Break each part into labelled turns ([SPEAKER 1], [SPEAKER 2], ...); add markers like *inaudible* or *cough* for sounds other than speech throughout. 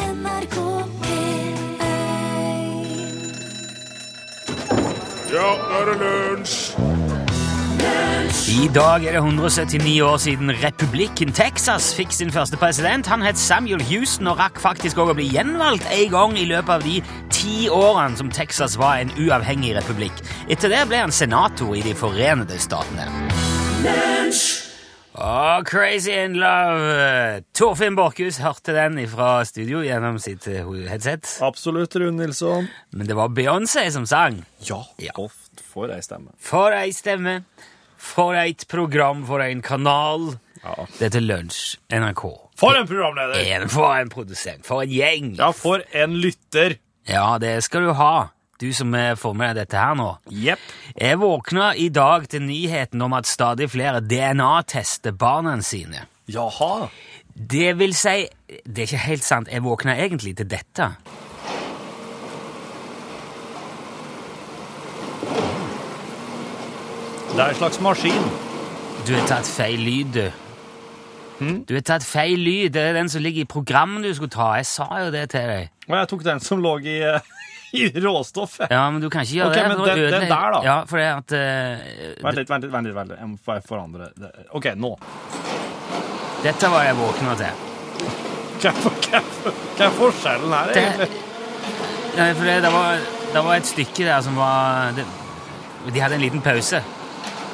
[SPEAKER 1] NRK P1
[SPEAKER 2] Ja, nå er det lunsj!
[SPEAKER 3] I dag er det 179 år siden republikken Texas fikk sin første president. Han het Samuel Houston og rakk faktisk også å bli gjenvalgt en gang i løpet av de ti årene som Texas var en uavhengig republikk. Etter det ble han senator i De forenede statene. Og Crazy in Love! Torfinn Borchhus hørte den fra studio gjennom sitt eh, headset.
[SPEAKER 4] Absolutt, Rune Nilsson.
[SPEAKER 3] Men det var Beyoncé som sang.
[SPEAKER 4] Ja,
[SPEAKER 3] Ja.
[SPEAKER 4] oft får ei stemme.
[SPEAKER 3] For ei stemme, for eit program, for en kanal. Dette er Lunsj, NRK.
[SPEAKER 4] For en programleder!
[SPEAKER 3] En for en produsent, for en gjeng.
[SPEAKER 4] Ja, for en lytter!
[SPEAKER 3] Ja, det skal du ha, du som eh, får med deg dette her nå.
[SPEAKER 4] Jepp.
[SPEAKER 3] Jeg våkna i dag til nyheten om at stadig flere DNA-tester barna sine.
[SPEAKER 4] Jaha.
[SPEAKER 3] Det vil si Det er ikke helt sant. Jeg våkna egentlig til dette.
[SPEAKER 4] Det er en slags maskin.
[SPEAKER 3] Du har tatt feil lyd, du. Du har tatt feil lyd. Det er den som ligger i programmet du skulle ta. Jeg sa jo det til deg.
[SPEAKER 4] Og jeg tok den som lå i, *laughs* eh, i råstoffet.
[SPEAKER 3] Ja, men du kan ikke gjøre
[SPEAKER 4] Ok,
[SPEAKER 3] det.
[SPEAKER 4] men
[SPEAKER 3] for da
[SPEAKER 4] den- den
[SPEAKER 3] ødelegger-
[SPEAKER 4] der da?
[SPEAKER 3] Ja, for det at eh,
[SPEAKER 4] Vent litt, vent litt, vent litt. vent litt. Jeg må bare forandre det. OK, nå. *laughs*
[SPEAKER 3] Dette var jeg våkna til.
[SPEAKER 4] Hva er, for- hva er, for- hva er forskjellen her, *laughs*
[SPEAKER 3] Det,
[SPEAKER 4] egentlig?
[SPEAKER 3] Nei, for det, det, var, det var et stykke der som var det, De hadde en liten pause.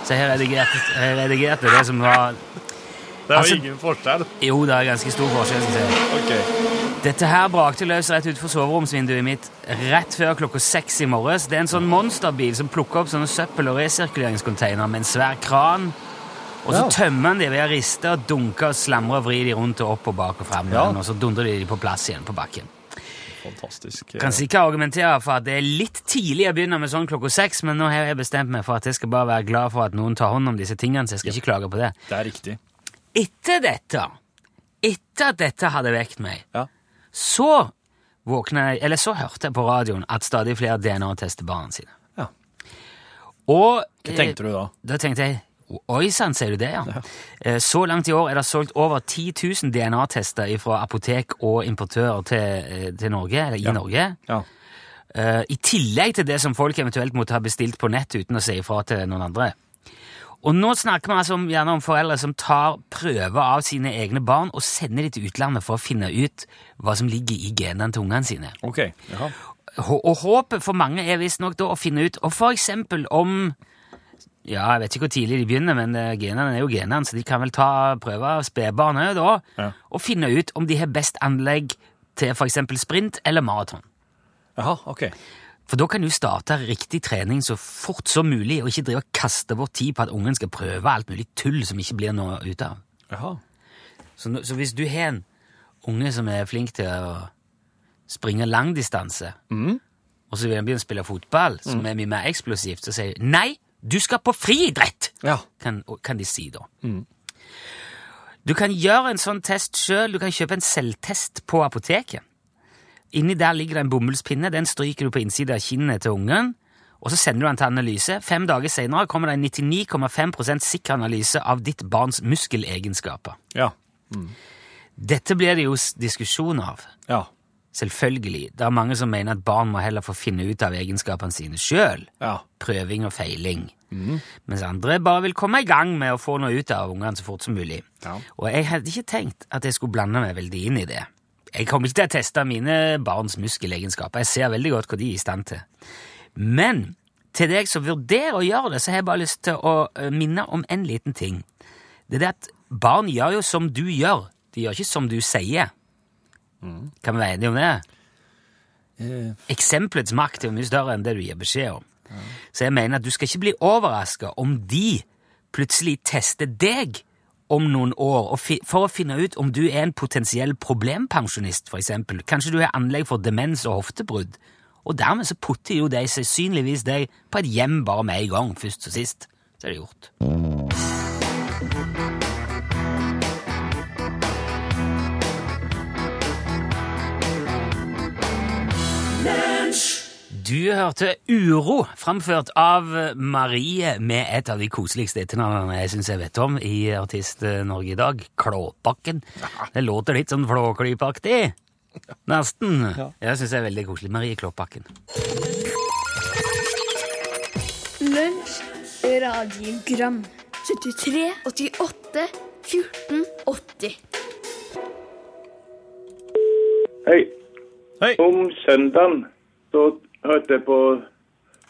[SPEAKER 3] Så jeg redigerte, jeg redigerte det som var
[SPEAKER 4] Det er jo
[SPEAKER 3] altså-
[SPEAKER 4] ingen forskjell.
[SPEAKER 3] Jo, det er ganske stor forskjell. Skal jeg si.
[SPEAKER 4] Ok.
[SPEAKER 3] Dette her brakte løs rett utfor soveromsvinduet mitt rett før klokka seks i morges. Det er en sånn monsterbil som plukker opp sånne søppel- og resirkuleringscontainer med en svær kran. Og så
[SPEAKER 4] Ja.
[SPEAKER 3] tømmer han de ved å riste og dunke og slamre og vri de rundt og opp og bak og fram. med
[SPEAKER 4] Ja.
[SPEAKER 3] den, Og så dundrer de de på plass igjen på bakken.
[SPEAKER 4] Fantastisk.
[SPEAKER 3] Kan sikkert argumentere for at det er litt tidlig å begynne med sånn klokka seks, men nå har jeg bestemt meg for at jeg skal bare være glad for at noen tar hånd om disse tingene, så jeg skal ikke klage på det.
[SPEAKER 4] Det er riktig.
[SPEAKER 3] Etter dette, etter at dette hadde vekt meg,
[SPEAKER 4] Ja.
[SPEAKER 3] så våkna jeg, eller så hørte jeg på radioen at stadig flere DNA tester barna sine.
[SPEAKER 4] Ja.
[SPEAKER 3] Og eh,
[SPEAKER 4] Hva tenkte du da?
[SPEAKER 3] Da tenkte jeg Oi sann, sier du det, ja. Eh, Så langt i år er det solgt over 10 000 DNA-tester fra apotek og importører til, eh, til Norge, eller i Norge.
[SPEAKER 4] Ja.
[SPEAKER 3] Eh, I tillegg til det som folk eventuelt måtte ha bestilt på nett uten å si ifra til noen andre. Og nå snakker vi altså om, gjerne om foreldre som tar prøver av sine egne barn og sender de til utlandet for å finne ut hva som ligger i genene til ungene sine.
[SPEAKER 4] OK. Jaha.
[SPEAKER 3] Hå- Og håpet for mange er visstnok da å finne ut og for eksempel om Ja, jeg vet ikke hvor tidlig de begynner, men eh, genene er jo genene, så de kan vel ta prøver av spedbarn òg, da,
[SPEAKER 4] Ja.
[SPEAKER 3] og finne ut om de har best anlegg til for eksempel sprint eller maraton.
[SPEAKER 4] Jaha, OK.
[SPEAKER 3] For da kan du starte riktig trening så fort som mulig, og ikke drive og kaste bort tid på at ungen skal prøve alt mulig tull som ikke blir noe ut av.
[SPEAKER 4] Jaha.
[SPEAKER 3] Så, nå- så hvis du har en unge som er flink til å springe langdistanse, og så vil han begynne å spille fotball, som er mye mer eksplosivt, så sier de nei, du skal på friidrett!
[SPEAKER 4] Ja.
[SPEAKER 3] kan, kan de si da. Du kan gjøre en sånn test sjøl. Du kan kjøpe en selvtest på apoteket. Inni der ligger det en bomullspinne. Den stryker du på innsiden av kinnet til ungen. Og så sender du den til analyse. Fem dager senere kommer det en 99,5 sikker analyse av ditt barns muskelegenskaper.
[SPEAKER 4] Ja.
[SPEAKER 3] Dette blir det jo s- diskusjon av.
[SPEAKER 4] Ja.
[SPEAKER 3] Selvfølgelig. Det er mange som mener at barn må heller få finne ut av egenskapene sine sjøl
[SPEAKER 4] Ja.
[SPEAKER 3] prøving og feiling. Mens andre bare vil komme i gang med å få noe ut av ungene så fort som mulig.
[SPEAKER 4] Ja.
[SPEAKER 3] Og jeg hadde ikke tenkt at jeg skulle blande meg veldig inn i det. Jeg kommer ikke til å teste mine barns muskelegenskaper. Jeg ser veldig godt hva de er i stand til. Men til deg som vurderer å gjøre det, så har jeg bare lyst til å eh, minne om en liten ting. Det er det at barn gjør jo som du gjør. De gjør ikke som du sier. Kan vi være enige om det?
[SPEAKER 4] Eh,
[SPEAKER 3] Eksempelets makt er jo mye større enn det du gir beskjed om. Så jeg mener at du skal ikke bli overraska om de plutselig tester deg om noen år og fi for å finne ut om du er en potensiell problempensjonist, f.eks. Kanskje du har anlegg for demens og hoftebrudd. Og dermed så putter jo de sannsynligvis deg på et hjem bare med en gang, først og sist. Så er det gjort. Du hørte Uro, framført av Marie med et av de koseligste etternavnene jeg syns jeg vet om eh, i Artist-Norge i dag, Klåbakken. Det låter litt sånn Flåklypaktig. Nesten. Jeg syns jeg er veldig koselig. Marie Klåbakken.
[SPEAKER 1] Lunsj, radiogram 73, 88, 14, 80
[SPEAKER 5] Hei.
[SPEAKER 4] Hei.
[SPEAKER 5] Om søndagen så hørte jeg på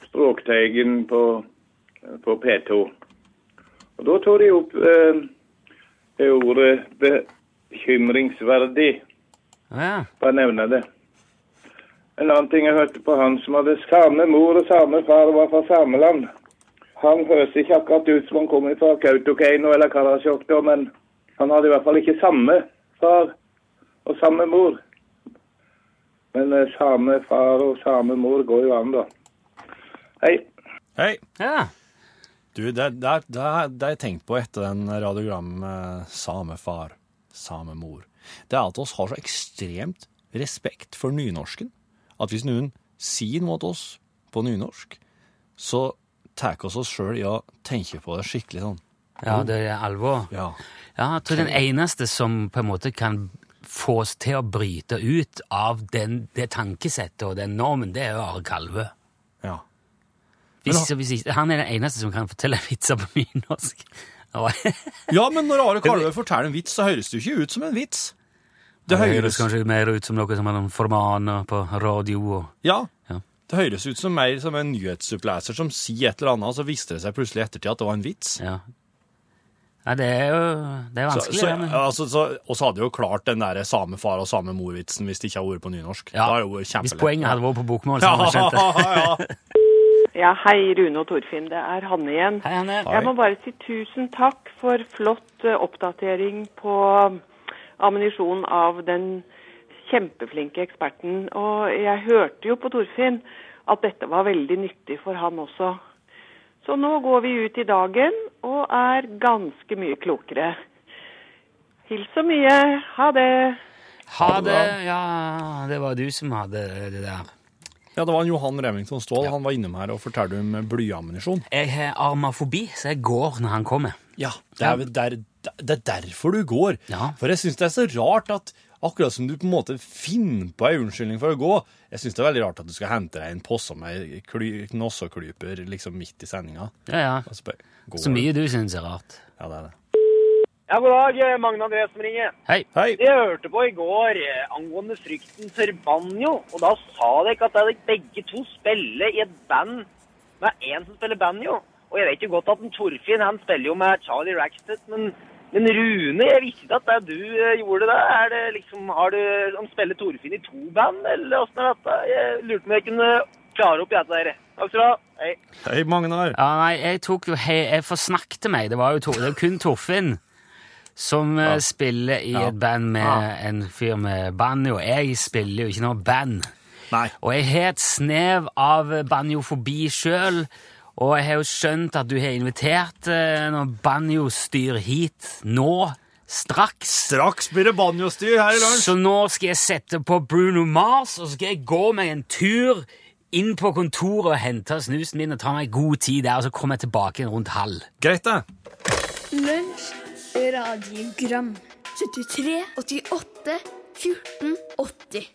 [SPEAKER 5] Språkteigen på, på P2. Og da tok de opp eh, det ordet bekymringsverdig,
[SPEAKER 3] Å ja.
[SPEAKER 5] bare nevne det. En annen ting jeg hørte på han som hadde samme mor og samme far og var fra samme land. Han høres ikke akkurat ut som han kommer fra Kautokeino eller Karasjok, da, men han hadde i hvert fall ikke samme far og samme mor. Men eh, same far og same mor går jo an, da. Hei.
[SPEAKER 4] Hei.
[SPEAKER 3] ja.
[SPEAKER 6] Du, det det er- det er- det har jeg tenkt på etter den radiogram eh, Samefar, samemor. Det er at oss har så ekstremt respekt for nynorsken. At hvis noen sier noe til oss på nynorsk, så tar oss oss sjøl i å tenke på det skikkelig sånn.
[SPEAKER 3] ja, det er alvor.
[SPEAKER 6] Ja.
[SPEAKER 3] Ja, jeg tror den eneste som på en måte kan få oss til å bryte ut av den, det tankesettet og den normen, det er jo Are Kalvø.
[SPEAKER 6] ja.
[SPEAKER 3] Hvis, hvis, ikke- han er den eneste som kan fortelle vitser på *laughs* nynorsk. Det
[SPEAKER 6] Ja, men når Are Kalvø forteller en vits, så høres det jo ikke ut som en vits. Det høres,
[SPEAKER 3] kanskje mer ut som noe som er formaner på radio. og...
[SPEAKER 6] ja,
[SPEAKER 3] Ja.
[SPEAKER 6] det høres ut som mer som en nyhetsoppleser som sier et eller annet, og så viste det seg plutselig i ettertid at det var en vits.
[SPEAKER 3] Ja. Nei, det er jo det er vanskelig,
[SPEAKER 6] så,
[SPEAKER 3] det. Men,
[SPEAKER 6] så, altså, så, og så hadde jeg jo klart den der same far og same mor-vitsen hvis det ikke hadde vært på nynorsk. Det
[SPEAKER 3] ja,
[SPEAKER 6] hadde jo vært
[SPEAKER 3] hvis
[SPEAKER 6] kjempelett.
[SPEAKER 3] poenget hadde vært på
[SPEAKER 6] *laughs*
[SPEAKER 3] bokmål, så hadde jeg skjønt det.
[SPEAKER 6] ja, ja, ja.
[SPEAKER 7] Ja, hei, Rune og Torfinn. Det er Hanne igjen.
[SPEAKER 3] Hei, Hanne.
[SPEAKER 7] Jeg må bare si tusen takk for flott eh, oppdatering på ammunisjon av den kjempeflinke eksperten. Og jeg hørte jo på Torfinn at dette var veldig nyttig for han også. Så nå går vi ut i dagen og er ganske mye klokere. Hils så mye. Ha det.
[SPEAKER 3] Ha det! Ja, det var du som hadde det der.
[SPEAKER 6] ja, det var en Johan Remington Ståhl. Han var innom her og fortalte om blyammunisjon.
[SPEAKER 3] Jeg har armafobi, så jeg går når han kommer.
[SPEAKER 6] Ja, det er, vel der, det er derfor du går.
[SPEAKER 3] Ja.
[SPEAKER 6] For jeg syns det er så rart at akkurat som du på en måte finner på ei unnskyldning for å gå Jeg syns det er veldig rart at du skal hente deg en posse med kly- knossoklyper liksom midt i sendinga.
[SPEAKER 3] Ja, ja.
[SPEAKER 6] Og spør, går
[SPEAKER 3] Så mye du syns er rart.
[SPEAKER 6] du? Ja, det er det.
[SPEAKER 8] Ja, god dag, eh, Magne André som ringer.
[SPEAKER 3] Hei.
[SPEAKER 6] Hei!
[SPEAKER 8] Jeg hørte på i går eh, angående frykten for banjo, og da sa dere at dere begge to spiller i et band med én som spiller banjo. Og jeg vet jo godt at den Torfinn han spiller jo med Charlie Rackstead, men, men Rune, jeg visste ikke at det er du eh, gjorde det. Er det liksom, har du, han spiller Torfinn i to band, eller åssen er dette? Jeg lurte på om jeg kunne klare opp i dette. dere. Takk skal du ha. Hei.
[SPEAKER 6] Hei, Magnar.
[SPEAKER 3] Ja, nei, jeg tok jo he- Jeg forsnakte meg. Det var jo to, det var kun Torfinn som eh, spiller i et band med en fyr med banjo. Jeg spiller jo ikke noe band.
[SPEAKER 6] Nei.
[SPEAKER 3] Og jeg har et snev av banjofobi sjøl. Og jeg har jo skjønt at du har invitert eh, noen banjostyr hit nå, straks.
[SPEAKER 6] Straks blir det banjostyr her i lunsj.
[SPEAKER 3] Så nå skal jeg sette på Bruno Mars, og så skal jeg gå meg en tur inn på kontoret og hente snusen min og ta meg god tid der, og så kommer jeg tilbake igjen rundt halv.
[SPEAKER 6] Greit, det.
[SPEAKER 1] Lunsj, radiogram 73, 88, 14, 80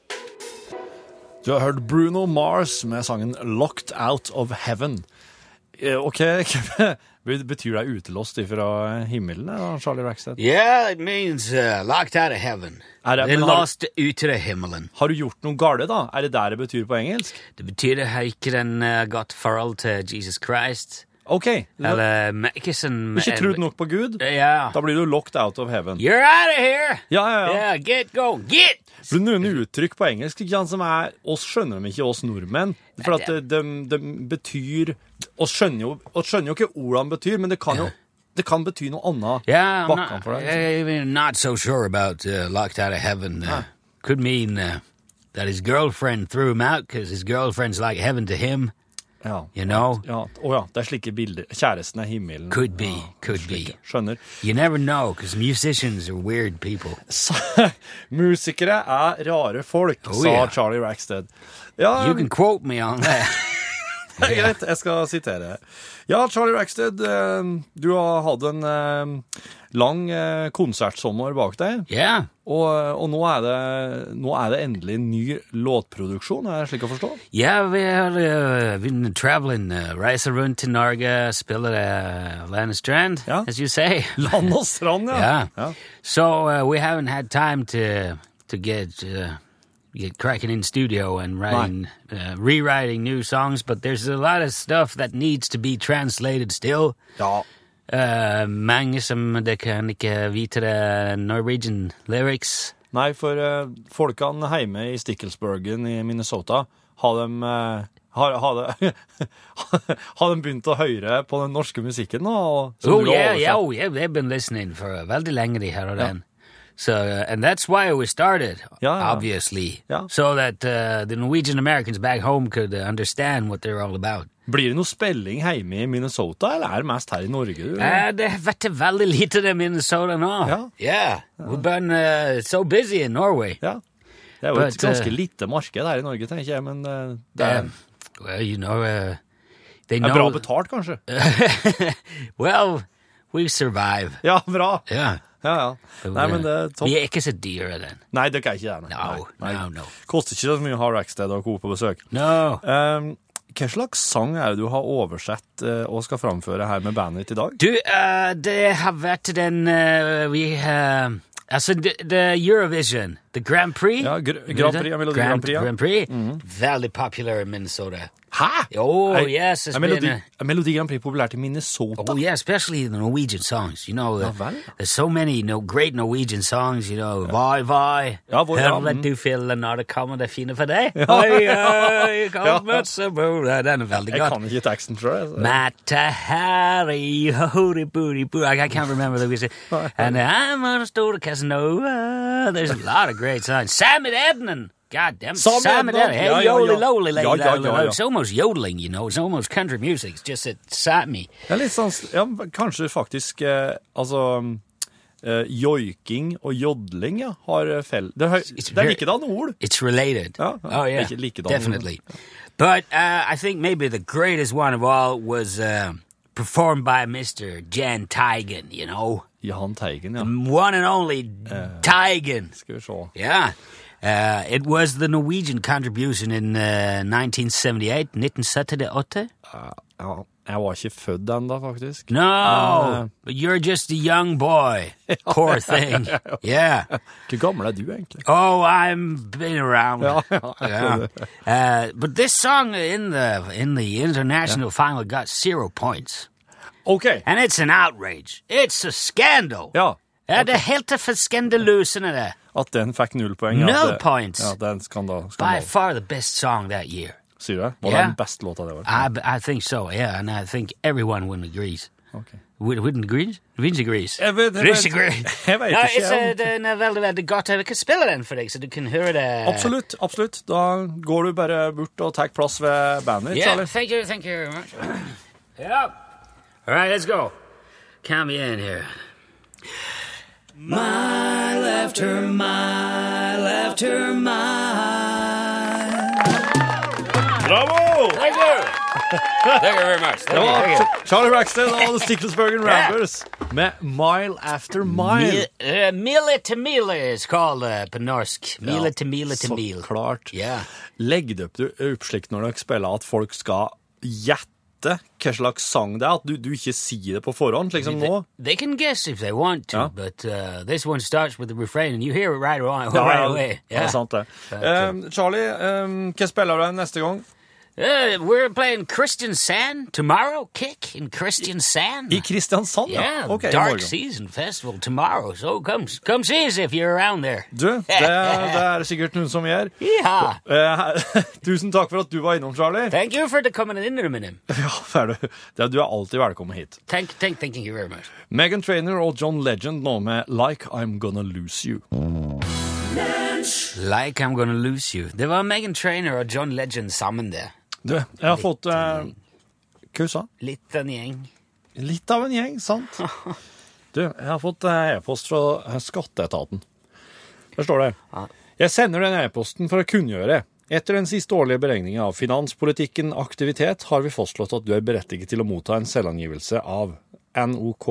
[SPEAKER 6] Du har hørt Bruno Mars med sangen 'Locked Out of Heaven'. Eh, OK, *laughs* betyr det utelåst ifra himmelen, da, Charlie Rackstead?
[SPEAKER 3] Yeah, it means uh, locked out of heaven.
[SPEAKER 6] Er det- They're men har- lost
[SPEAKER 3] ut av himmelen.
[SPEAKER 6] Har du gjort noe galt, da? Er det der det betyr på engelsk?
[SPEAKER 3] Det betyr det har ikke den uh, got farrell til Jesus Christ,
[SPEAKER 6] OK. Eller,
[SPEAKER 3] eller Mackison.
[SPEAKER 6] ikke trodd nok på Gud?
[SPEAKER 3] Ja.
[SPEAKER 6] Da blir du locked out of heaven.
[SPEAKER 3] You're out of here!
[SPEAKER 6] Ja, ja, ja.
[SPEAKER 3] Yeah, get going, get!
[SPEAKER 6] For det er noen uttrykk på engelsk ikke sant, som er oss skjønner dem ikke, oss nordmenn. For at de, betyr oss skjønner, jo, oss skjønner jo ikke ordene betyr, men det kan jo det kan bety noe annet
[SPEAKER 3] Yeah, I'm
[SPEAKER 6] bakkan
[SPEAKER 3] not,
[SPEAKER 6] for deg.
[SPEAKER 3] I'm not so sure about uh, locked out of heaven. Uh, Could mean uh, that his girlfriend threw him out because his girlfriend's like heaven to him.
[SPEAKER 6] Ja.
[SPEAKER 3] You know,
[SPEAKER 6] Ja, å ja, det er slike bilder. Kjæresten er himmelen.
[SPEAKER 3] could be,
[SPEAKER 6] Ja,
[SPEAKER 3] could be.
[SPEAKER 6] slike. Skjønner.
[SPEAKER 3] You never know because musicians are weird people.
[SPEAKER 6] Sa- *laughs* musikere er rare folk,
[SPEAKER 3] Oh,
[SPEAKER 6] sa
[SPEAKER 3] yeah.
[SPEAKER 6] Charlie Rackstead. Ja,
[SPEAKER 3] You can quote me on that.
[SPEAKER 6] Det er *laughs* greit, jeg skal sitere. Ja, Charlie Rackstead, eh, du har hatt en eh, lang eh, konsertsommer bak deg,
[SPEAKER 3] Ja,
[SPEAKER 6] og, eh, og nå, er det, nå er det endelig ny låtproduksjon, er det slik å
[SPEAKER 3] *laughs*
[SPEAKER 6] forstå?
[SPEAKER 3] Ja, vi har uh, been traveling, uh, reiser rundt til Norge, spiller uh, land and strand,
[SPEAKER 6] Ja.
[SPEAKER 3] as you say.
[SPEAKER 6] Land og strand, ja.
[SPEAKER 3] yeah. So uh, we haven't had time to to get uh, get cracking in studio and writing, uh, rewriting new songs, but there's a lot of stuff that needs to be translated still.
[SPEAKER 6] ja.
[SPEAKER 3] Uh, mange som det kan ikke vite det er Norwegian lyrics.
[SPEAKER 6] Nei, for eh, folkene hjemme i Stickelsburgen i Minnesota, har de, eh, har, har, de, *laughs* har de begynt å høre på den norske musikken nå? og- som
[SPEAKER 3] Oh
[SPEAKER 6] du har
[SPEAKER 3] yeah,
[SPEAKER 6] oversatt?
[SPEAKER 3] yeah, oh yeah. They've been listening for a veldig lenge de her og den. So uh, and that's why we started,
[SPEAKER 6] Ja, ja.
[SPEAKER 3] obviously,
[SPEAKER 6] Ja.
[SPEAKER 3] so that uh, the Norwegian Americans back home could uh, understand what they're all about.
[SPEAKER 6] Blir det noe spilling hjemme i Minnesota, eller er det mest her i Norge? Du?
[SPEAKER 3] Uh, det har vært veldig lite det Minnesota nå.
[SPEAKER 6] Ja.
[SPEAKER 3] Yeah, we've been uh, so busy in Norway.
[SPEAKER 6] Ja. Det er jo et
[SPEAKER 3] But, eh,
[SPEAKER 6] ganske lite marked her i Norge, tenker jeg, men eh, det er,
[SPEAKER 3] Um, well, you know, uh, they
[SPEAKER 6] det er
[SPEAKER 3] know.
[SPEAKER 6] bra betalt, kanskje.
[SPEAKER 3] *laughs* eh, well, we survive.
[SPEAKER 6] Ja, bra!
[SPEAKER 3] Yeah.
[SPEAKER 6] Ja, ja. Nei, men det er topp.
[SPEAKER 3] eh, Vi er ikke så dyre den.
[SPEAKER 6] Nei, det kan jeg ikke det. nei.
[SPEAKER 3] No,
[SPEAKER 6] Nei, nei.
[SPEAKER 3] no, no.
[SPEAKER 6] Koster ikke så mye å ha Rackstead og Co. på besøk.
[SPEAKER 3] No.
[SPEAKER 6] Um, hva slags sang er det du har oversett eh, og skal framføre her med bandet ditt i dag?
[SPEAKER 3] Du, eh, det har vært den eh, Vi eh, Altså, det det Eurovision, The Grand Prix
[SPEAKER 6] Ja, Gr- Grand Prix, ja, Melodi Grand Prix, ja. Mhm.
[SPEAKER 3] Grand Prix. Veldig popular i Minnesota.
[SPEAKER 6] Hæ?!
[SPEAKER 3] Oh,
[SPEAKER 6] Er-
[SPEAKER 3] yes, it's
[SPEAKER 6] er Melodi,
[SPEAKER 3] been a-
[SPEAKER 6] er Melodi Grand Prix populært i Minnesota?
[SPEAKER 3] Oh yeah, especially the Norwegian songs. You know, uh,
[SPEAKER 6] vel.
[SPEAKER 3] there's so many you know, great Norwegian songs. You know, Vai Vai.
[SPEAKER 6] Ja, hvor- ja,
[SPEAKER 3] Hører
[SPEAKER 6] mm.
[SPEAKER 3] du fjellet når det kommer det er fine for
[SPEAKER 6] *laughs*
[SPEAKER 3] deg? Oi, oi, kommer så bra. Den er veldig
[SPEAKER 6] Jeg altså.
[SPEAKER 3] godt.
[SPEAKER 6] kan ikke teksten sjøl.
[SPEAKER 3] Mata Harry, hoody booty boo. I, I can't remember
[SPEAKER 6] *laughs*
[SPEAKER 3] the music. and I'm on a store to Casanova. There's a lot of great songs. Sam and Ednan. God damn,
[SPEAKER 6] Sam
[SPEAKER 3] Sam and
[SPEAKER 6] Ednan.
[SPEAKER 3] Ednan.
[SPEAKER 6] Ja,
[SPEAKER 3] Hey,
[SPEAKER 6] ja, ja.
[SPEAKER 3] yodely, lowly, lady,
[SPEAKER 6] Ja, ja,
[SPEAKER 3] lowly,
[SPEAKER 6] ja,
[SPEAKER 3] lowly.
[SPEAKER 6] ja.
[SPEAKER 3] It's almost yodeling, you know. It's almost country music. It's just it me.
[SPEAKER 6] Det er litt sånn, ja, kanskje faktisk eh, Altså eh, Joiking og jodling ja, har eh, fell... Det er, høy-
[SPEAKER 3] It's
[SPEAKER 6] det er
[SPEAKER 3] very-
[SPEAKER 6] likedan ord.
[SPEAKER 3] It's related.
[SPEAKER 6] Ja, ja.
[SPEAKER 3] oh yeah,
[SPEAKER 6] Like- like it all.
[SPEAKER 3] definitely. But uh, I think maybe the greatest one of all was uh, performed by Mister Jan Tigan. You know,
[SPEAKER 6] Jahn Teigen, ja.
[SPEAKER 3] one and only Tigan.
[SPEAKER 6] Skal vi se.
[SPEAKER 3] Yeah. Uh, it was the Norwegian contribution in uh, 1978, 1978.
[SPEAKER 6] Ja, jeg var ikke født ennå, faktisk.
[SPEAKER 3] No, but you're just a young *laughs* boy. Poor *laughs* thing. Yeah.
[SPEAKER 6] Hvor gammel er du, egentlig?
[SPEAKER 3] Oh, I'm been around.
[SPEAKER 6] Ja, ja.
[SPEAKER 3] Yeah. Uh, but this song in the in the international final got zero points,
[SPEAKER 6] OK.
[SPEAKER 3] and it's an outrage. It's a scandal.
[SPEAKER 6] Ja.
[SPEAKER 3] Ja, det er helt for skandaløsende. det.
[SPEAKER 6] At den fikk null poeng.
[SPEAKER 3] No
[SPEAKER 6] at det,
[SPEAKER 3] points.
[SPEAKER 6] Ja, det er en skandal.
[SPEAKER 3] By
[SPEAKER 6] skandal.
[SPEAKER 3] far the best song that year.
[SPEAKER 6] Sier du det? Var det
[SPEAKER 3] Ja.
[SPEAKER 6] den beste låta det var?
[SPEAKER 3] I, I think so, yeah, and I think everyone would agrees.
[SPEAKER 6] Ok.
[SPEAKER 3] Would, wouldn't agrees? Wouldn't agrees?
[SPEAKER 6] Jeg vet- jeg vet-
[SPEAKER 3] Disagrees.
[SPEAKER 6] jeg vet
[SPEAKER 3] Nei,
[SPEAKER 6] ikke
[SPEAKER 3] it's,
[SPEAKER 6] om-
[SPEAKER 3] eh, den er veldig, veldig godt. Jeg kan spille den for deg, så du kan høre det.
[SPEAKER 6] Absolutt. absolutt. Da går du bare bort og tar plass ved bandet ditt,
[SPEAKER 3] Yeah,
[SPEAKER 6] Charlie.
[SPEAKER 3] thank you, thank you very *clears throat* much. yeah. All right, let's go. Count me in here. Mile after mile after mile.
[SPEAKER 6] Bravo!
[SPEAKER 3] Thank you. *laughs* thank you very much. Thank
[SPEAKER 6] Det
[SPEAKER 3] you,
[SPEAKER 6] var
[SPEAKER 3] thank you.
[SPEAKER 6] Ch- Charlie Rackstead og The Sticklesburgen Rappers med Mile After Mile.
[SPEAKER 3] Mil- uh, Mile to mile is called uh, på norsk. Mile til mile til mile.
[SPEAKER 6] Så klart.
[SPEAKER 3] Ja.
[SPEAKER 6] Legg det opp, du- opp slik når dere spiller at folk skal gjette hva slags sang det er, at du, du ikke sier det på forhånd, slik som nå.
[SPEAKER 3] They can guess if they want to,
[SPEAKER 6] Ja.
[SPEAKER 3] but uh, this one starts with the refrain, and you hear it right, away. *laughs*
[SPEAKER 6] Ja,
[SPEAKER 3] right
[SPEAKER 6] ja,
[SPEAKER 3] away.
[SPEAKER 6] ja, det er sant det. Um, Charlie, um, hva spiller du neste gang?
[SPEAKER 3] Uh, we're playing Christian Sand tomorrow. Kick in Christian Sand.
[SPEAKER 6] I Kristiansand,
[SPEAKER 3] yeah,
[SPEAKER 6] Ok, i
[SPEAKER 3] Dark
[SPEAKER 6] morgen.
[SPEAKER 3] Season Festival tomorrow. So come come see us if you're around there.
[SPEAKER 6] Du, det, det er det sikkert noen som gjør.
[SPEAKER 3] Yeehaw!
[SPEAKER 6] Eh, *laughs* tusen takk for at du var innom, Charlie.
[SPEAKER 3] Thank you for the coming in there, minute.
[SPEAKER 6] *laughs* Ja, er du. Det, du er alltid velkommen hit.
[SPEAKER 3] Thank, thank, thank you very much.
[SPEAKER 6] Megan Trainer og John Legend nå med Like I'm Gonna Lose You.
[SPEAKER 3] Like I'm gonna lose you. Det var Megan Trainer og John Legend sammen der.
[SPEAKER 6] Du, jeg har fått eh, Hva sa han?
[SPEAKER 3] Litt av en gjeng.
[SPEAKER 6] Litt av en gjeng, sant? *laughs* Du, jeg har fått eh, e-post fra eh, Skatteetaten. Der står det. Jeg sender denne e-posten for å kunngjøre Etter den siste årlige beregningen av finanspolitikken aktivitet har vi fastslått at du er berettiget til å motta en selvangivelse av NOK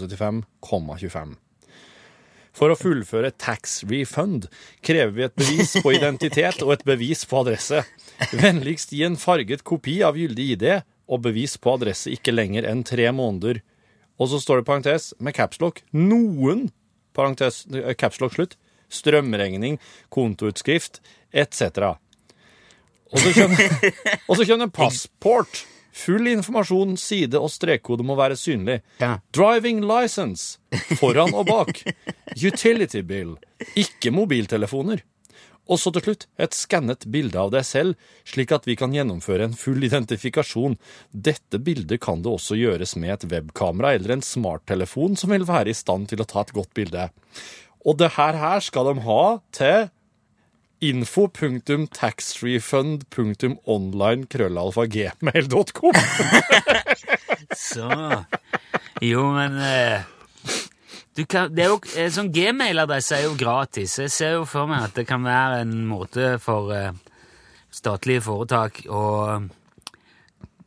[SPEAKER 6] 6775,25. For å fullføre tax refund krever vi et bevis på identitet og et bevis på adresse. Vennligst gi en farget kopi av gyldig ID og bevis på adresse ikke lenger enn tre måneder. Og så står det parentes med capslock noen parentes, eh, capslock slutt, strømregning, kontoutskrift etc. Og så kommer, og så kommer det en passport. Full informasjon, side og strekkode må være synlig.
[SPEAKER 3] Ja.
[SPEAKER 6] Driving license foran og bak. Utility bill, ikke mobiltelefoner. Og så til slutt et skannet bilde av deg selv, slik at vi kan gjennomføre en full identifikasjon. Dette bildet kan det også gjøres med et webkamera eller en smarttelefon som vil være i stand til å ta et godt bilde. Og det her her skal de ha til info.taxrefund.online.krøllalfa.gmail.com.
[SPEAKER 3] Så Jo, men eh, du kan, det er jo, eh, Sånn gmailadresse er jo gratis. Jeg ser jo for meg at det kan være en måte for eh, statlige foretak å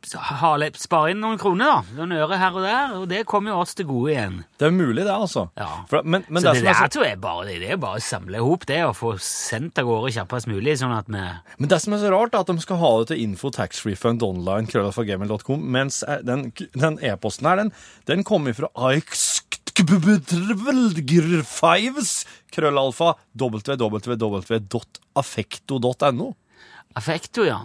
[SPEAKER 3] s- ha litt- spare inn noen kroner, da. Noen øre her og der. Og det kommer jo oss til gode igjen.
[SPEAKER 6] *laughs* Det er mulig, det, altså.
[SPEAKER 3] Ja.
[SPEAKER 6] For, men, men
[SPEAKER 3] så
[SPEAKER 6] det
[SPEAKER 3] det,
[SPEAKER 6] som er
[SPEAKER 3] der
[SPEAKER 6] så-
[SPEAKER 3] tror jeg bare det er bare å samle ihop det og få sendt av gårde kjappest mulig, sånn at vi
[SPEAKER 6] Men det som er så rart, er at de skal ha det til info taxrefundonline.krøllalfa.gmail.com, mens eh, den den e-posten her, den, den kommer fra aixktbubbetrvelgrfives krøllalfa www.affekto.no.
[SPEAKER 3] Affekto, ja.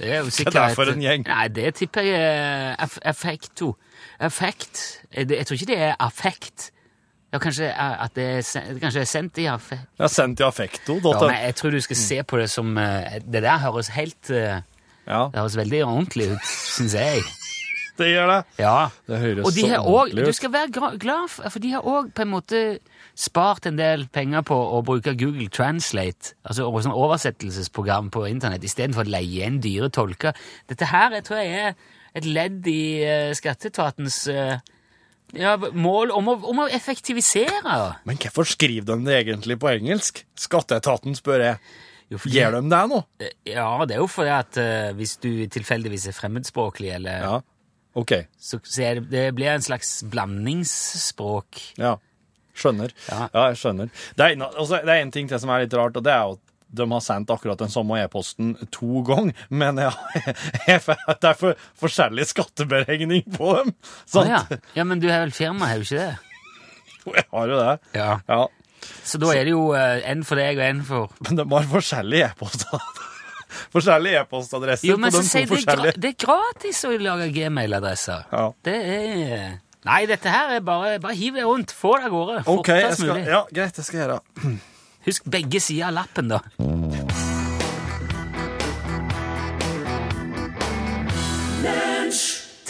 [SPEAKER 3] Det er jo sikkert
[SPEAKER 6] der for en gjeng.
[SPEAKER 3] Nei, det tipper jeg eh, aff Affekto. Affekt Eh, det- Jeg tror ikke det er affekt. Ja, kanskje eh, at det er, sen- kanskje det er sendt i affekt.
[SPEAKER 6] Jeg har sendt til affekto.no.
[SPEAKER 3] Ja, men jeg tror du skal se på det som eh, Det der høres helt eh,
[SPEAKER 6] Ja,
[SPEAKER 3] Det høres veldig ordentlig ut, syns jeg.
[SPEAKER 6] det gjør det.
[SPEAKER 3] Ja.
[SPEAKER 6] Det høres
[SPEAKER 3] Og de
[SPEAKER 6] så
[SPEAKER 3] har òg
[SPEAKER 6] ordentlig
[SPEAKER 3] Du
[SPEAKER 6] ut.
[SPEAKER 3] skal være gra- glad for For de har òg på en måte spart en del penger på å bruke Google Translate, altså over- sånn oversettelsesprogram på internett, istedenfor å leie inn dyre tolker. Dette her jeg tror jeg er et ledd i eh, skatteetatens eh, ja, mål om å, om å effektivisere.
[SPEAKER 6] Men hvorfor skriver de det egentlig på engelsk? Skatteetaten spør jeg.
[SPEAKER 3] Jo, fordi-
[SPEAKER 6] Gjør de det nå?
[SPEAKER 3] Ja, det er jo fordi at eh, hvis du tilfeldigvis er fremmedspråklig, eller
[SPEAKER 6] Ja. Ok,
[SPEAKER 3] så, så er det, det blir en slags blandingsspråk.
[SPEAKER 6] ja. Skjønner.
[SPEAKER 3] Ja.
[SPEAKER 6] Ja, jeg skjønner. Det er, en- altså, det er en ting til som er litt rart, og det er jo at de har sendt akkurat den samme e-posten to ganger, men jeg, *laughs* jeg, det er for, forskjellig skatteberegning på dem.
[SPEAKER 3] Å
[SPEAKER 6] Sant?
[SPEAKER 3] ja. ja, men du har vel firma, har du ikke det?
[SPEAKER 6] Jeg har *laughs* jo det.
[SPEAKER 3] Ja.
[SPEAKER 6] Ja,
[SPEAKER 3] Så da er det jo eh, en for deg og en for
[SPEAKER 6] men de har forskjellige e-poster. *laughs* Forskjellige e-postadresser
[SPEAKER 3] Jo, men
[SPEAKER 6] på
[SPEAKER 3] så
[SPEAKER 6] de
[SPEAKER 3] sier
[SPEAKER 6] to
[SPEAKER 3] de gra
[SPEAKER 6] forskjellige.
[SPEAKER 3] det er gratis å lage gmailadresser.
[SPEAKER 6] Ja.
[SPEAKER 3] Det er Nei, dette her er bare Bare hiv det rundt. Få det av gårde.
[SPEAKER 6] Ok, jeg
[SPEAKER 3] Fortest
[SPEAKER 6] skal,
[SPEAKER 3] mulig.
[SPEAKER 6] ja, greit, det skal jeg gjøre.
[SPEAKER 3] Husk begge sider av lappen, da.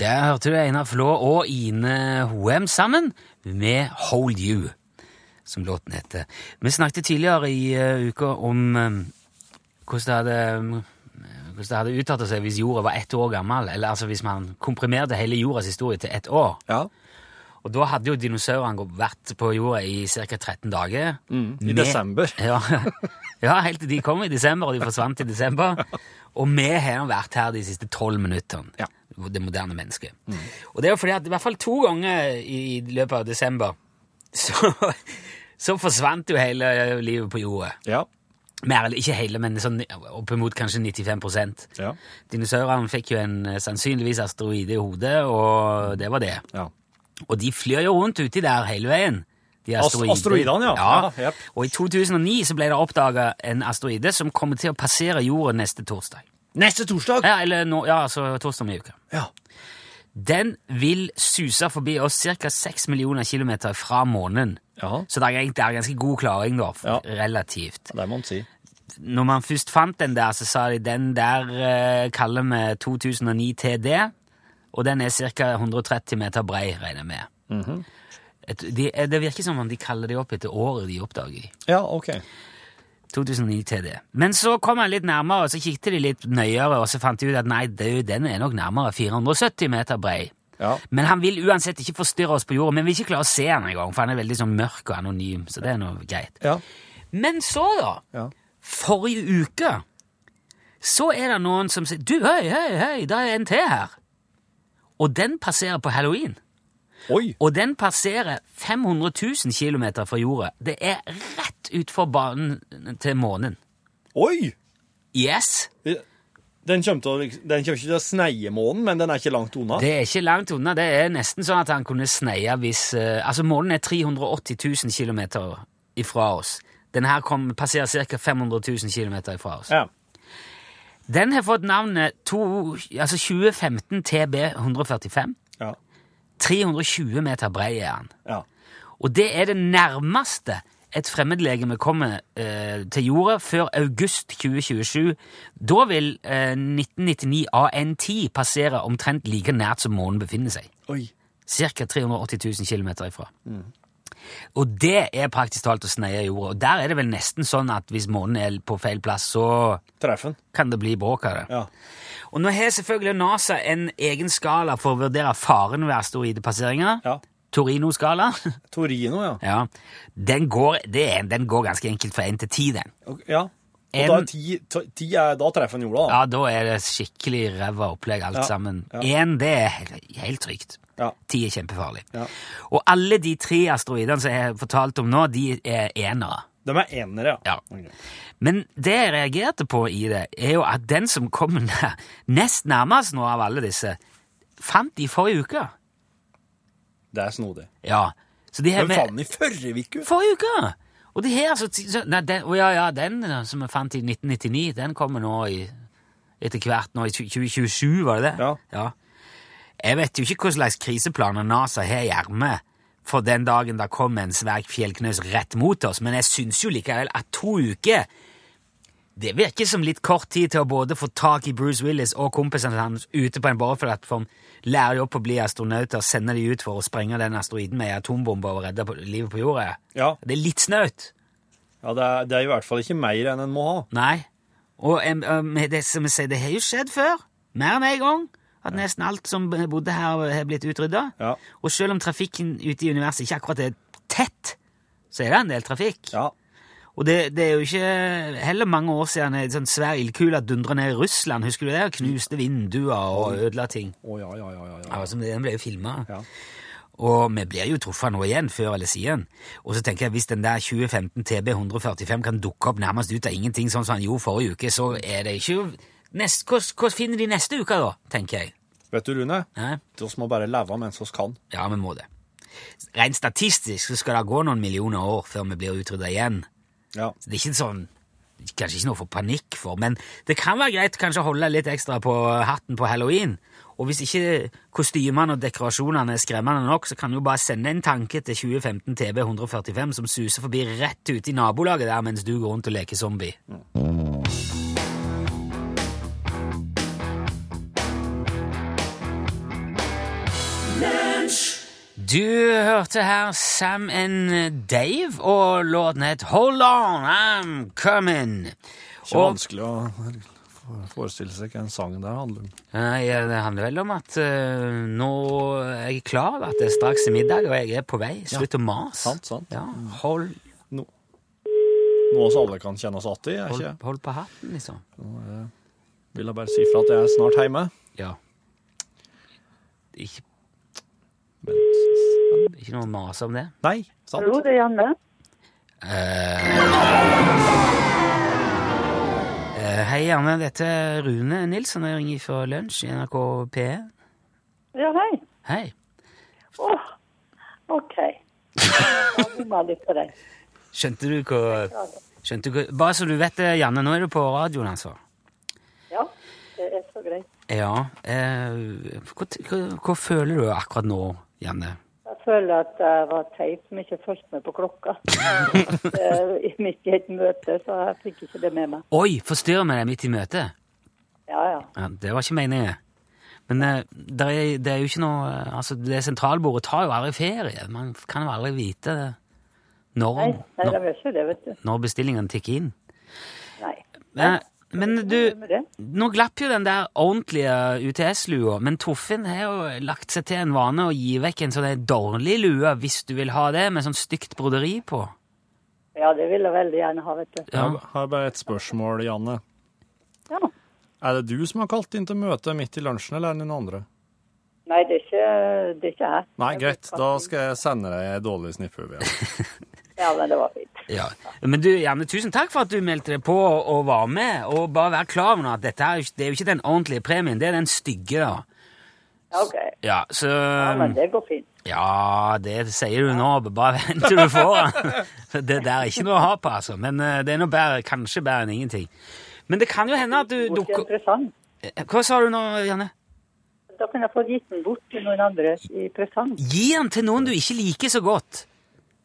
[SPEAKER 3] Der hørte du Einar Flå og Ine Hoem sammen med Hold You, som låten heter. Vi snakket tidligere i eh, uka om eh, hvordan det hadde eh, hvordan det hadde uttalt seg hvis jorda var ett år gammel, eller altså hvis man komprimerte hele jordas historie til ett år.
[SPEAKER 6] Ja.
[SPEAKER 3] Og da hadde jo dinosaurene gå- vært på jorda i ca. 13 dager.
[SPEAKER 6] Mm. I
[SPEAKER 3] Med-
[SPEAKER 6] desember.
[SPEAKER 3] *laughs* Ja, ja helt til de kom i desember, og de forsvant i desember. Og vi har vært her de siste 12 minuttene,
[SPEAKER 6] Ja. Mm.
[SPEAKER 3] det moderne mennesket. Og det er jo fordi at i hvert fall to ganger i løpet av desember *laughs* så, så forsvant jo hele livet på jorda.
[SPEAKER 6] Ja.
[SPEAKER 3] Mer eller ikke hele, men sånn oppimot kanskje 95
[SPEAKER 6] Ja.
[SPEAKER 3] Dinosaurene fikk jo en eh, sannsynligvis asteroide i hodet, og det var det.
[SPEAKER 6] ja.
[SPEAKER 3] Og de flyr jo rundt uti der hele veien. De
[SPEAKER 6] Ast- asteroidene, ja. Ja, jep.
[SPEAKER 3] Og i 2009 så ble det oppdaga en asteroide som kommer til å passere jorden neste torsdag.
[SPEAKER 6] Neste torsdag!
[SPEAKER 3] Ja, eller nå, ja, altså torsdag om en uke.
[SPEAKER 6] Ja.
[SPEAKER 3] Den vil suse forbi oss ca. 6 millioner kilometer fra månen.
[SPEAKER 6] Ja.
[SPEAKER 3] Så det er, egentlig- det er ganske god klaring, da. f-
[SPEAKER 6] Ja.
[SPEAKER 3] Relativt.
[SPEAKER 6] Det må man si.
[SPEAKER 3] Når man først fant den der, så sa de den der eh, kaller vi 2009 TD, og den er ca. 130 meter brei, regner jeg med. Et- de, eh, det virker som om de kaller det opp etter året de oppdager.
[SPEAKER 6] Ja, ok.
[SPEAKER 3] 2009 TD. Men så kom han litt nærmere, og så kikket de litt nøyere, og så fant de ut at nei, du, den er nok nærmere 470 meter brei.
[SPEAKER 6] Ja.
[SPEAKER 3] Men han vil uansett ikke forstyrre oss på jorda, men vi vil ikke klare å se han engang, for han er veldig sånn mørk og anonym, så det er nå greit.
[SPEAKER 6] Ja.
[SPEAKER 3] Men så, da,
[SPEAKER 6] Ja.
[SPEAKER 3] forrige uke, så er det noen som sier Du, hei, hei, hei, det er en til her. Og den passerer på halloween.
[SPEAKER 6] Oi!
[SPEAKER 3] Og den passerer 500 000 km fra jorda. Det er rett utfor banen til månen.
[SPEAKER 6] Oi!
[SPEAKER 3] Yes!
[SPEAKER 6] Den kommer, til å, liksom- den kommer ikke til å sneie månen, men den er ikke langt unna.
[SPEAKER 3] Det er ikke langt unna. Det er nesten sånn at han kunne sneie hvis eh, Altså, månen er 380 000 km ifra oss. Den her kom, passerer ca. 500 000 km ifra oss.
[SPEAKER 6] Ja.
[SPEAKER 3] Den har fått navnet to, altså 2015 TB145.
[SPEAKER 6] Ja.
[SPEAKER 3] 320 meter brei er han.
[SPEAKER 6] ja.
[SPEAKER 3] Og det er det nærmeste et fremmedlegeme kommer eh, til jorda før august 2027. Da vil eh, 1999 AN10 passere omtrent like nært som månen befinner seg.
[SPEAKER 6] Oi.
[SPEAKER 3] Cirka 380 000 km ifra. Og det er praktisk talt å sneie jorda. Og der er det vel nesten sånn at hvis månen er på feil plass, så
[SPEAKER 6] Treffen.
[SPEAKER 3] kan det bli bråk av det.
[SPEAKER 6] Ja.
[SPEAKER 3] Og nå har selvfølgelig NASA en egen skala for å vurdere faren ved asteroidepasseringer.
[SPEAKER 6] Ja.
[SPEAKER 3] Torino-skala. *laughs*
[SPEAKER 6] Torino, ja.
[SPEAKER 3] ja. Den går, det er, den går ganske enkelt fra 1 til 10, den.
[SPEAKER 6] Ok, ja. Og
[SPEAKER 3] En-
[SPEAKER 6] da er ti, to- ti er, da treffer en jorda, da.
[SPEAKER 3] Ja, da er det skikkelig ræva opplegg alt
[SPEAKER 6] Ja,
[SPEAKER 3] sammen.
[SPEAKER 6] ja.
[SPEAKER 3] Én, det er he- helt trygt.
[SPEAKER 6] Ja.
[SPEAKER 3] Ti er kjempefarlig.
[SPEAKER 6] Ja.
[SPEAKER 3] Og alle de tre asteroidene som jeg har fortalt om nå, de er enere.
[SPEAKER 6] De er enere, ja.
[SPEAKER 3] Ja.
[SPEAKER 6] Ok.
[SPEAKER 3] Men det jeg reagerte på i det, er jo at den som kom *laughs* nær- nest nærmest nå av alle disse, fant de forrige uke.
[SPEAKER 6] Det er snodig.
[SPEAKER 3] Ja. Så de har
[SPEAKER 6] Men
[SPEAKER 3] med-
[SPEAKER 6] faen, i førre uke!
[SPEAKER 3] Forrige uke! Og de her, så, så nei, den, å ja, ja, den som jeg fant i 1999, den kommer nå i, etter hvert nå i 2027, var det det?
[SPEAKER 6] Ja.
[SPEAKER 3] Jeg vet jo ikke hva slags kriseplaner NASA har i ermet for den dagen det kommer en svær fjellknøs rett mot oss, men jeg syns jo likevel at to uker det virker som litt kort tid til å både få tak i Bruce Willis og kompisene hans ute på en boreplattform, lære de opp å bli astronauter, sende de ut for å sprenge den asteroiden med en atombombe og redde på- livet på jorda.
[SPEAKER 6] Ja,
[SPEAKER 3] Det er litt snaut.
[SPEAKER 6] ja det, er, det er i hvert fall ikke mer enn en må ha.
[SPEAKER 3] Nei. Og em, em, det som jeg sier, det har jo skjedd før. Mer enn en gang. At nesten alt som bodde her, har blitt utrydda.
[SPEAKER 6] Ja.
[SPEAKER 3] Og selv om trafikken ute i universet ikke akkurat er tett, så er det en del trafikk.
[SPEAKER 6] Ja,
[SPEAKER 3] Og det, det er jo ikke heller mange år siden en sånn svær ildkule dundra ned i Russland. Husker du det? Knuste vinduer og ødela ting.
[SPEAKER 6] Å ja, ja, ja, ja, ja.
[SPEAKER 3] Ja, som Den ble jo filma.
[SPEAKER 6] Ja.
[SPEAKER 3] Og vi blir jo truffet nå igjen, før eller siden. Og så tenker jeg, hvis den der 2015 TB 145 kan dukke opp nærmest ut av ingenting, sånn som han gjorde forrige uke, så er det ikke Nest, hva, hva finner de neste uke, da? tenker jeg.
[SPEAKER 6] Vet du, Rune,
[SPEAKER 3] Hæ?
[SPEAKER 6] vi må bare leve mens vi kan.
[SPEAKER 3] Ja, vi må det. Rent statistisk så skal det gå noen millioner år før vi blir utrydda igjen.
[SPEAKER 6] Ja.
[SPEAKER 3] Så det er ikke sånn Kanskje ikke noe for panikk for, men det kan være greit kanskje å holde litt ekstra på hatten på halloween. Og hvis ikke kostymene og dekorasjonene er skremmende nok, så kan du jo bare sende en tanke til 2015 TB 145 som suser forbi rett ute i nabolaget der mens du går rundt og leker zombie. Du hørte her Sam and Dave og låten het Hold On, I'm Coming.
[SPEAKER 6] Ikke vanskelig å forestille seg hva en sang der handler om.
[SPEAKER 3] Nei, eh, det handler vel om at eh, nå er jeg klar over at det er straks i middag, og jeg er på vei. Slutt å mase.
[SPEAKER 6] sant, sant. Mm.
[SPEAKER 3] Ja, hold,
[SPEAKER 6] Noe vi alle kan kjenne oss igjen i, er
[SPEAKER 3] hold,
[SPEAKER 6] ikke det?
[SPEAKER 3] hold på hatten, liksom.
[SPEAKER 6] Vil jeg bare si fra at jeg er snart hjemme.
[SPEAKER 3] Ja. Ikke,
[SPEAKER 6] Men
[SPEAKER 3] ikke noe mas om det.
[SPEAKER 6] Nei, sant?
[SPEAKER 9] Hallo, det er Janne.
[SPEAKER 3] Eh, hei, Janne. Dette er Rune Nilsson. Jeg ringer fra lunsj i NRK P1.
[SPEAKER 9] Ja, hei.
[SPEAKER 3] Hei.
[SPEAKER 9] Åh, ok. Jeg bomma litt på deg.
[SPEAKER 3] Skjønte du hva Skjønte du hva Bare så du vet det, Janne. Nå er du på radioen, altså.
[SPEAKER 9] Ja, det er så greit.
[SPEAKER 3] Ja. eh, hva, hva, hva føler du akkurat nå, Janne?
[SPEAKER 9] Jeg føler at jeg var teit som ikke fulgte med på
[SPEAKER 3] *laughs*
[SPEAKER 9] klokka. Eh, i Midt i et møte, så jeg fikk ikke det med meg.
[SPEAKER 3] Oi, forstyrrer vi deg midt i møtet?
[SPEAKER 9] Ja, ja.
[SPEAKER 3] Ja, det var ikke meningen. Men eh, det er, det er jo ikke noe eh, Altså, det sentralbordet tar jo aldri ferie. Man kan jo aldri vite det. når,
[SPEAKER 9] Nei, nei de
[SPEAKER 3] når,
[SPEAKER 9] gjør ikke det, vet du.
[SPEAKER 3] når bestillingene tikker inn.
[SPEAKER 9] Nei.
[SPEAKER 3] Men, men du,
[SPEAKER 9] Med det.
[SPEAKER 3] nå glapp jo den der ordentlige UTS-lua, men Toffen har jo lagt seg til en vane å gi vekk en sånn en dårlig lue, hvis du vil ha det, med sånn stygt broderi på.
[SPEAKER 9] Ja, det vil jeg veldig gjerne ha, vet du.
[SPEAKER 6] Jeg har- har bare et spørsmål, Janne.
[SPEAKER 9] Ja.
[SPEAKER 6] Er det du som har kalt inn til møte midt i lunsjen, eller er det noen andre?
[SPEAKER 9] Nei, det er ikke, det er ikke jeg.
[SPEAKER 6] Nei, greit. Da skal jeg sende deg ei dårlig snipphue.
[SPEAKER 9] *laughs* Ja, men det var fint.
[SPEAKER 3] Ja. Men du, Janne, tusen takk for at du meldte deg på og var med. Og bare vær klar over at dette er, jo ikke- det er jo ikke den ordentlige premien, det er den stygge. da.
[SPEAKER 9] Ja, OK.
[SPEAKER 3] Ja, så
[SPEAKER 9] Ja, men det går fint.
[SPEAKER 3] Ja, det sier du nå. Bare *laughs* vent til du får den. *laughs* Det der er ikke noe å ha på, altså. Men eh, det er noe bedre, kanskje bedre enn ingenting. Men det kan jo hende at du
[SPEAKER 9] Bort til en
[SPEAKER 3] dukker
[SPEAKER 9] presang.
[SPEAKER 3] Hva sa du nå, Janne?
[SPEAKER 9] Da kan jeg få gitt den bort til noen andre i presang.
[SPEAKER 3] Gi den til noen du ikke liker så godt.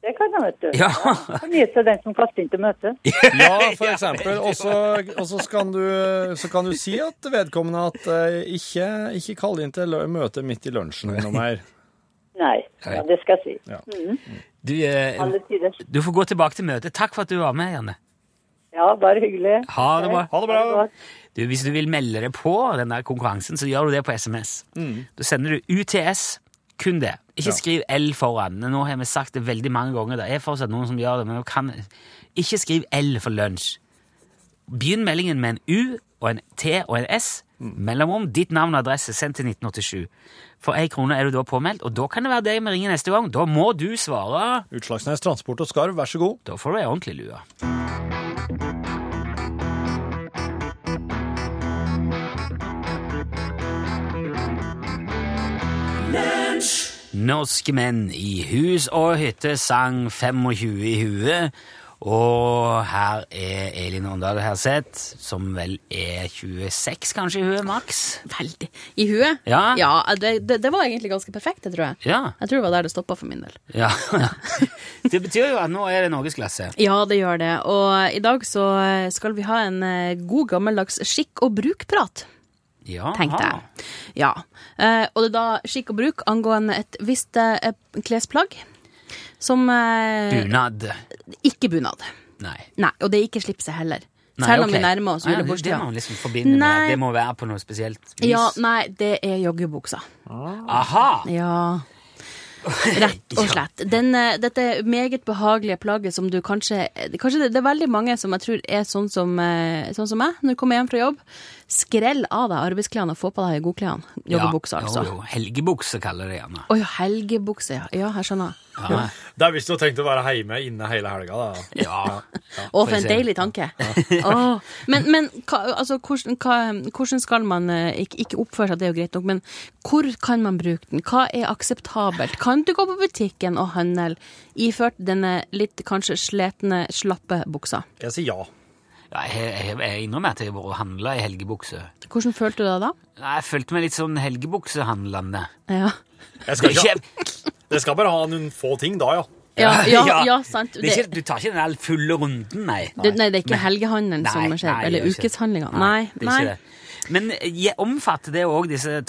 [SPEAKER 9] Det kan jeg, vet du.
[SPEAKER 3] Ja.
[SPEAKER 9] Jeg Kan gi til den som kaster inn til møtet.
[SPEAKER 6] Ja, for eksempel. Og så- Og så kan, du- så kan du si at vedkommende at eh, ikke, ikke kall inn til lø- møte midt i lunsjen noe mer.
[SPEAKER 9] Nei, ja, det skal jeg si.
[SPEAKER 6] Ja.
[SPEAKER 3] Du, eh,
[SPEAKER 9] Alle tider.
[SPEAKER 3] du får gå tilbake til møtet. Takk for at du var med, Janne.
[SPEAKER 9] Ja, bare hyggelig.
[SPEAKER 3] Ha det bra.
[SPEAKER 6] Ha det bra.
[SPEAKER 3] Du, hvis du vil melde deg på den der konkurransen, så gjør du det på SMS. Da sender du UTS, kun det. Ikke skriv L foran. Nå har vi sagt det veldig mange ganger. Det er fortsatt noen som gjør det, men du kan ikke skriv L for lunsj. Begynn meldingen med en U og en T og en S. Mellomrom, ditt navn og adresse, sendt til 1987. For ei krone er du da påmeldt, og da kan det være deg vi ringer neste gang. Da må du svare.
[SPEAKER 6] Utslagsnes Transport og Skarv, vær så god.
[SPEAKER 3] Da får du ei ordentlig lue. Norske menn i hus og hytte sang 25 i huet. Og her er Elin Åndal Herseth, som vel er 26 kanskje i huet, maks?
[SPEAKER 10] Veldig. I huet?
[SPEAKER 3] Ja.
[SPEAKER 10] det, det, det var egentlig ganske perfekt, det tror jeg.
[SPEAKER 3] Ja.
[SPEAKER 10] Jeg tror det var der det stoppa for min del.
[SPEAKER 3] ja. *laughs* Det betyr jo at nå er det norgesklasse.
[SPEAKER 10] Ja, det gjør det. Og i dag så skal vi ha en eh, god gammeldags skikk og bruk-prat,
[SPEAKER 3] Ja,
[SPEAKER 10] tenkte
[SPEAKER 3] aha.
[SPEAKER 10] jeg. Ja. Eh, Og det er da skikk og bruk angående et visst eh, klesplagg som eh,
[SPEAKER 3] Bunad.
[SPEAKER 10] Ikke bunad.
[SPEAKER 3] Nei.
[SPEAKER 10] Nei, og det er ikke slipset heller.
[SPEAKER 3] Nei,
[SPEAKER 10] Selv om
[SPEAKER 3] ok.
[SPEAKER 10] vi nærmer oss
[SPEAKER 3] Ah, ja, det- Det
[SPEAKER 10] julebordstida.
[SPEAKER 3] må man liksom forbinde
[SPEAKER 10] Nei.
[SPEAKER 3] med. Det må være på noe spesielt vis.
[SPEAKER 10] Ja, nei, det er joggebuksa.
[SPEAKER 3] Aha!
[SPEAKER 10] Ja. Rett
[SPEAKER 3] *laughs*
[SPEAKER 10] og slett. Den, eh, dette meget behagelige plagget som du kanskje eh, Kanskje det, det er veldig mange som jeg tror er sånn som, eh, sånn som meg, når du kommer hjem fra jobb. Skrell av deg arbeidsklærne og få på deg godklærne. Joggebuksa,
[SPEAKER 3] Ja,
[SPEAKER 10] altså.
[SPEAKER 3] Jo, jo. Helgebukse kaller det gjerne.
[SPEAKER 10] Å ja, helgebukse, ja. Ja, jeg skjønner.
[SPEAKER 3] Ja,
[SPEAKER 6] Det er hvis du har tenkt å være hjemme inne hele helga, da.
[SPEAKER 3] ja.
[SPEAKER 10] *laughs* Å, for en
[SPEAKER 3] eksempel.
[SPEAKER 10] deilig tanke. *laughs* Åh. Men, men hva, altså, hvordan, hva, hvordan skal man eh, ikke, ikke oppføre seg, det er jo greit nok, men hvor kan man bruke den? Hva er akseptabelt? Kan du gå på butikken og handle iført denne litt kanskje sletne, slappe buksa?
[SPEAKER 6] Jeg sier ja.
[SPEAKER 3] Ja, jeg, jeg, jeg innrømmer at jeg har vært og handla i helgebukse.
[SPEAKER 10] Hvordan følte du deg da?
[SPEAKER 3] Nei, Jeg følte meg litt sånn helgebuksehandlende. *laughs*
[SPEAKER 10] Ja,
[SPEAKER 6] Jeg
[SPEAKER 3] Det
[SPEAKER 6] skal,
[SPEAKER 3] er ikke,
[SPEAKER 6] ikke, jeg skal bare ha noen få ting da, ja.
[SPEAKER 10] ja,
[SPEAKER 3] *laughs*
[SPEAKER 10] ja, ja sant.
[SPEAKER 3] Det er ikke, du tar ikke den der fulle runden, nei.
[SPEAKER 10] det, nei, det er ikke helgehandelen som
[SPEAKER 3] Nei,
[SPEAKER 10] skjer,
[SPEAKER 3] nei,
[SPEAKER 10] eller
[SPEAKER 3] det er ikke-
[SPEAKER 10] ukeshandlingene. Nei,
[SPEAKER 3] det er
[SPEAKER 10] nei.
[SPEAKER 3] ikke det. Men jeg omfatter det òg disse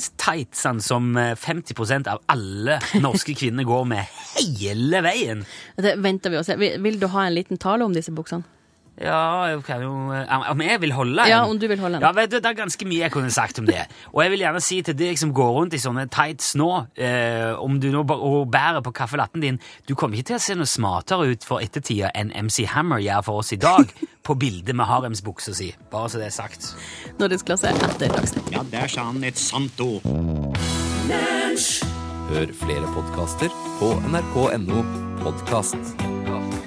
[SPEAKER 3] treningstightsene som eh, 50 av alle norske kvinner går med hele veien?
[SPEAKER 10] Det venter vi og ser. Vil, vil du ha en liten tale om disse buksene?
[SPEAKER 3] Ja, jeg kan jo eh, Om jeg vil holde en?
[SPEAKER 10] Ja, om du vil holde en.
[SPEAKER 3] Ja, vet du, Det er ganske mye jeg kunne sagt om det. Og jeg vil gjerne si til deg som går rundt i sånne tights nå, eh, om du nå ba- og bærer på kaffelatten din Du kommer ikke til å se noe smartere ut for ettertida enn MC Hammer gjør for oss i
[SPEAKER 10] *laughs*
[SPEAKER 3] dag på bildet med haremsbuksa si. Bare så det er sagt.
[SPEAKER 10] Norgesklasse etter Dagsnytt.
[SPEAKER 11] Ja, der sa han et sant ord.
[SPEAKER 12] Hør flere podkaster på nrk.no podkast.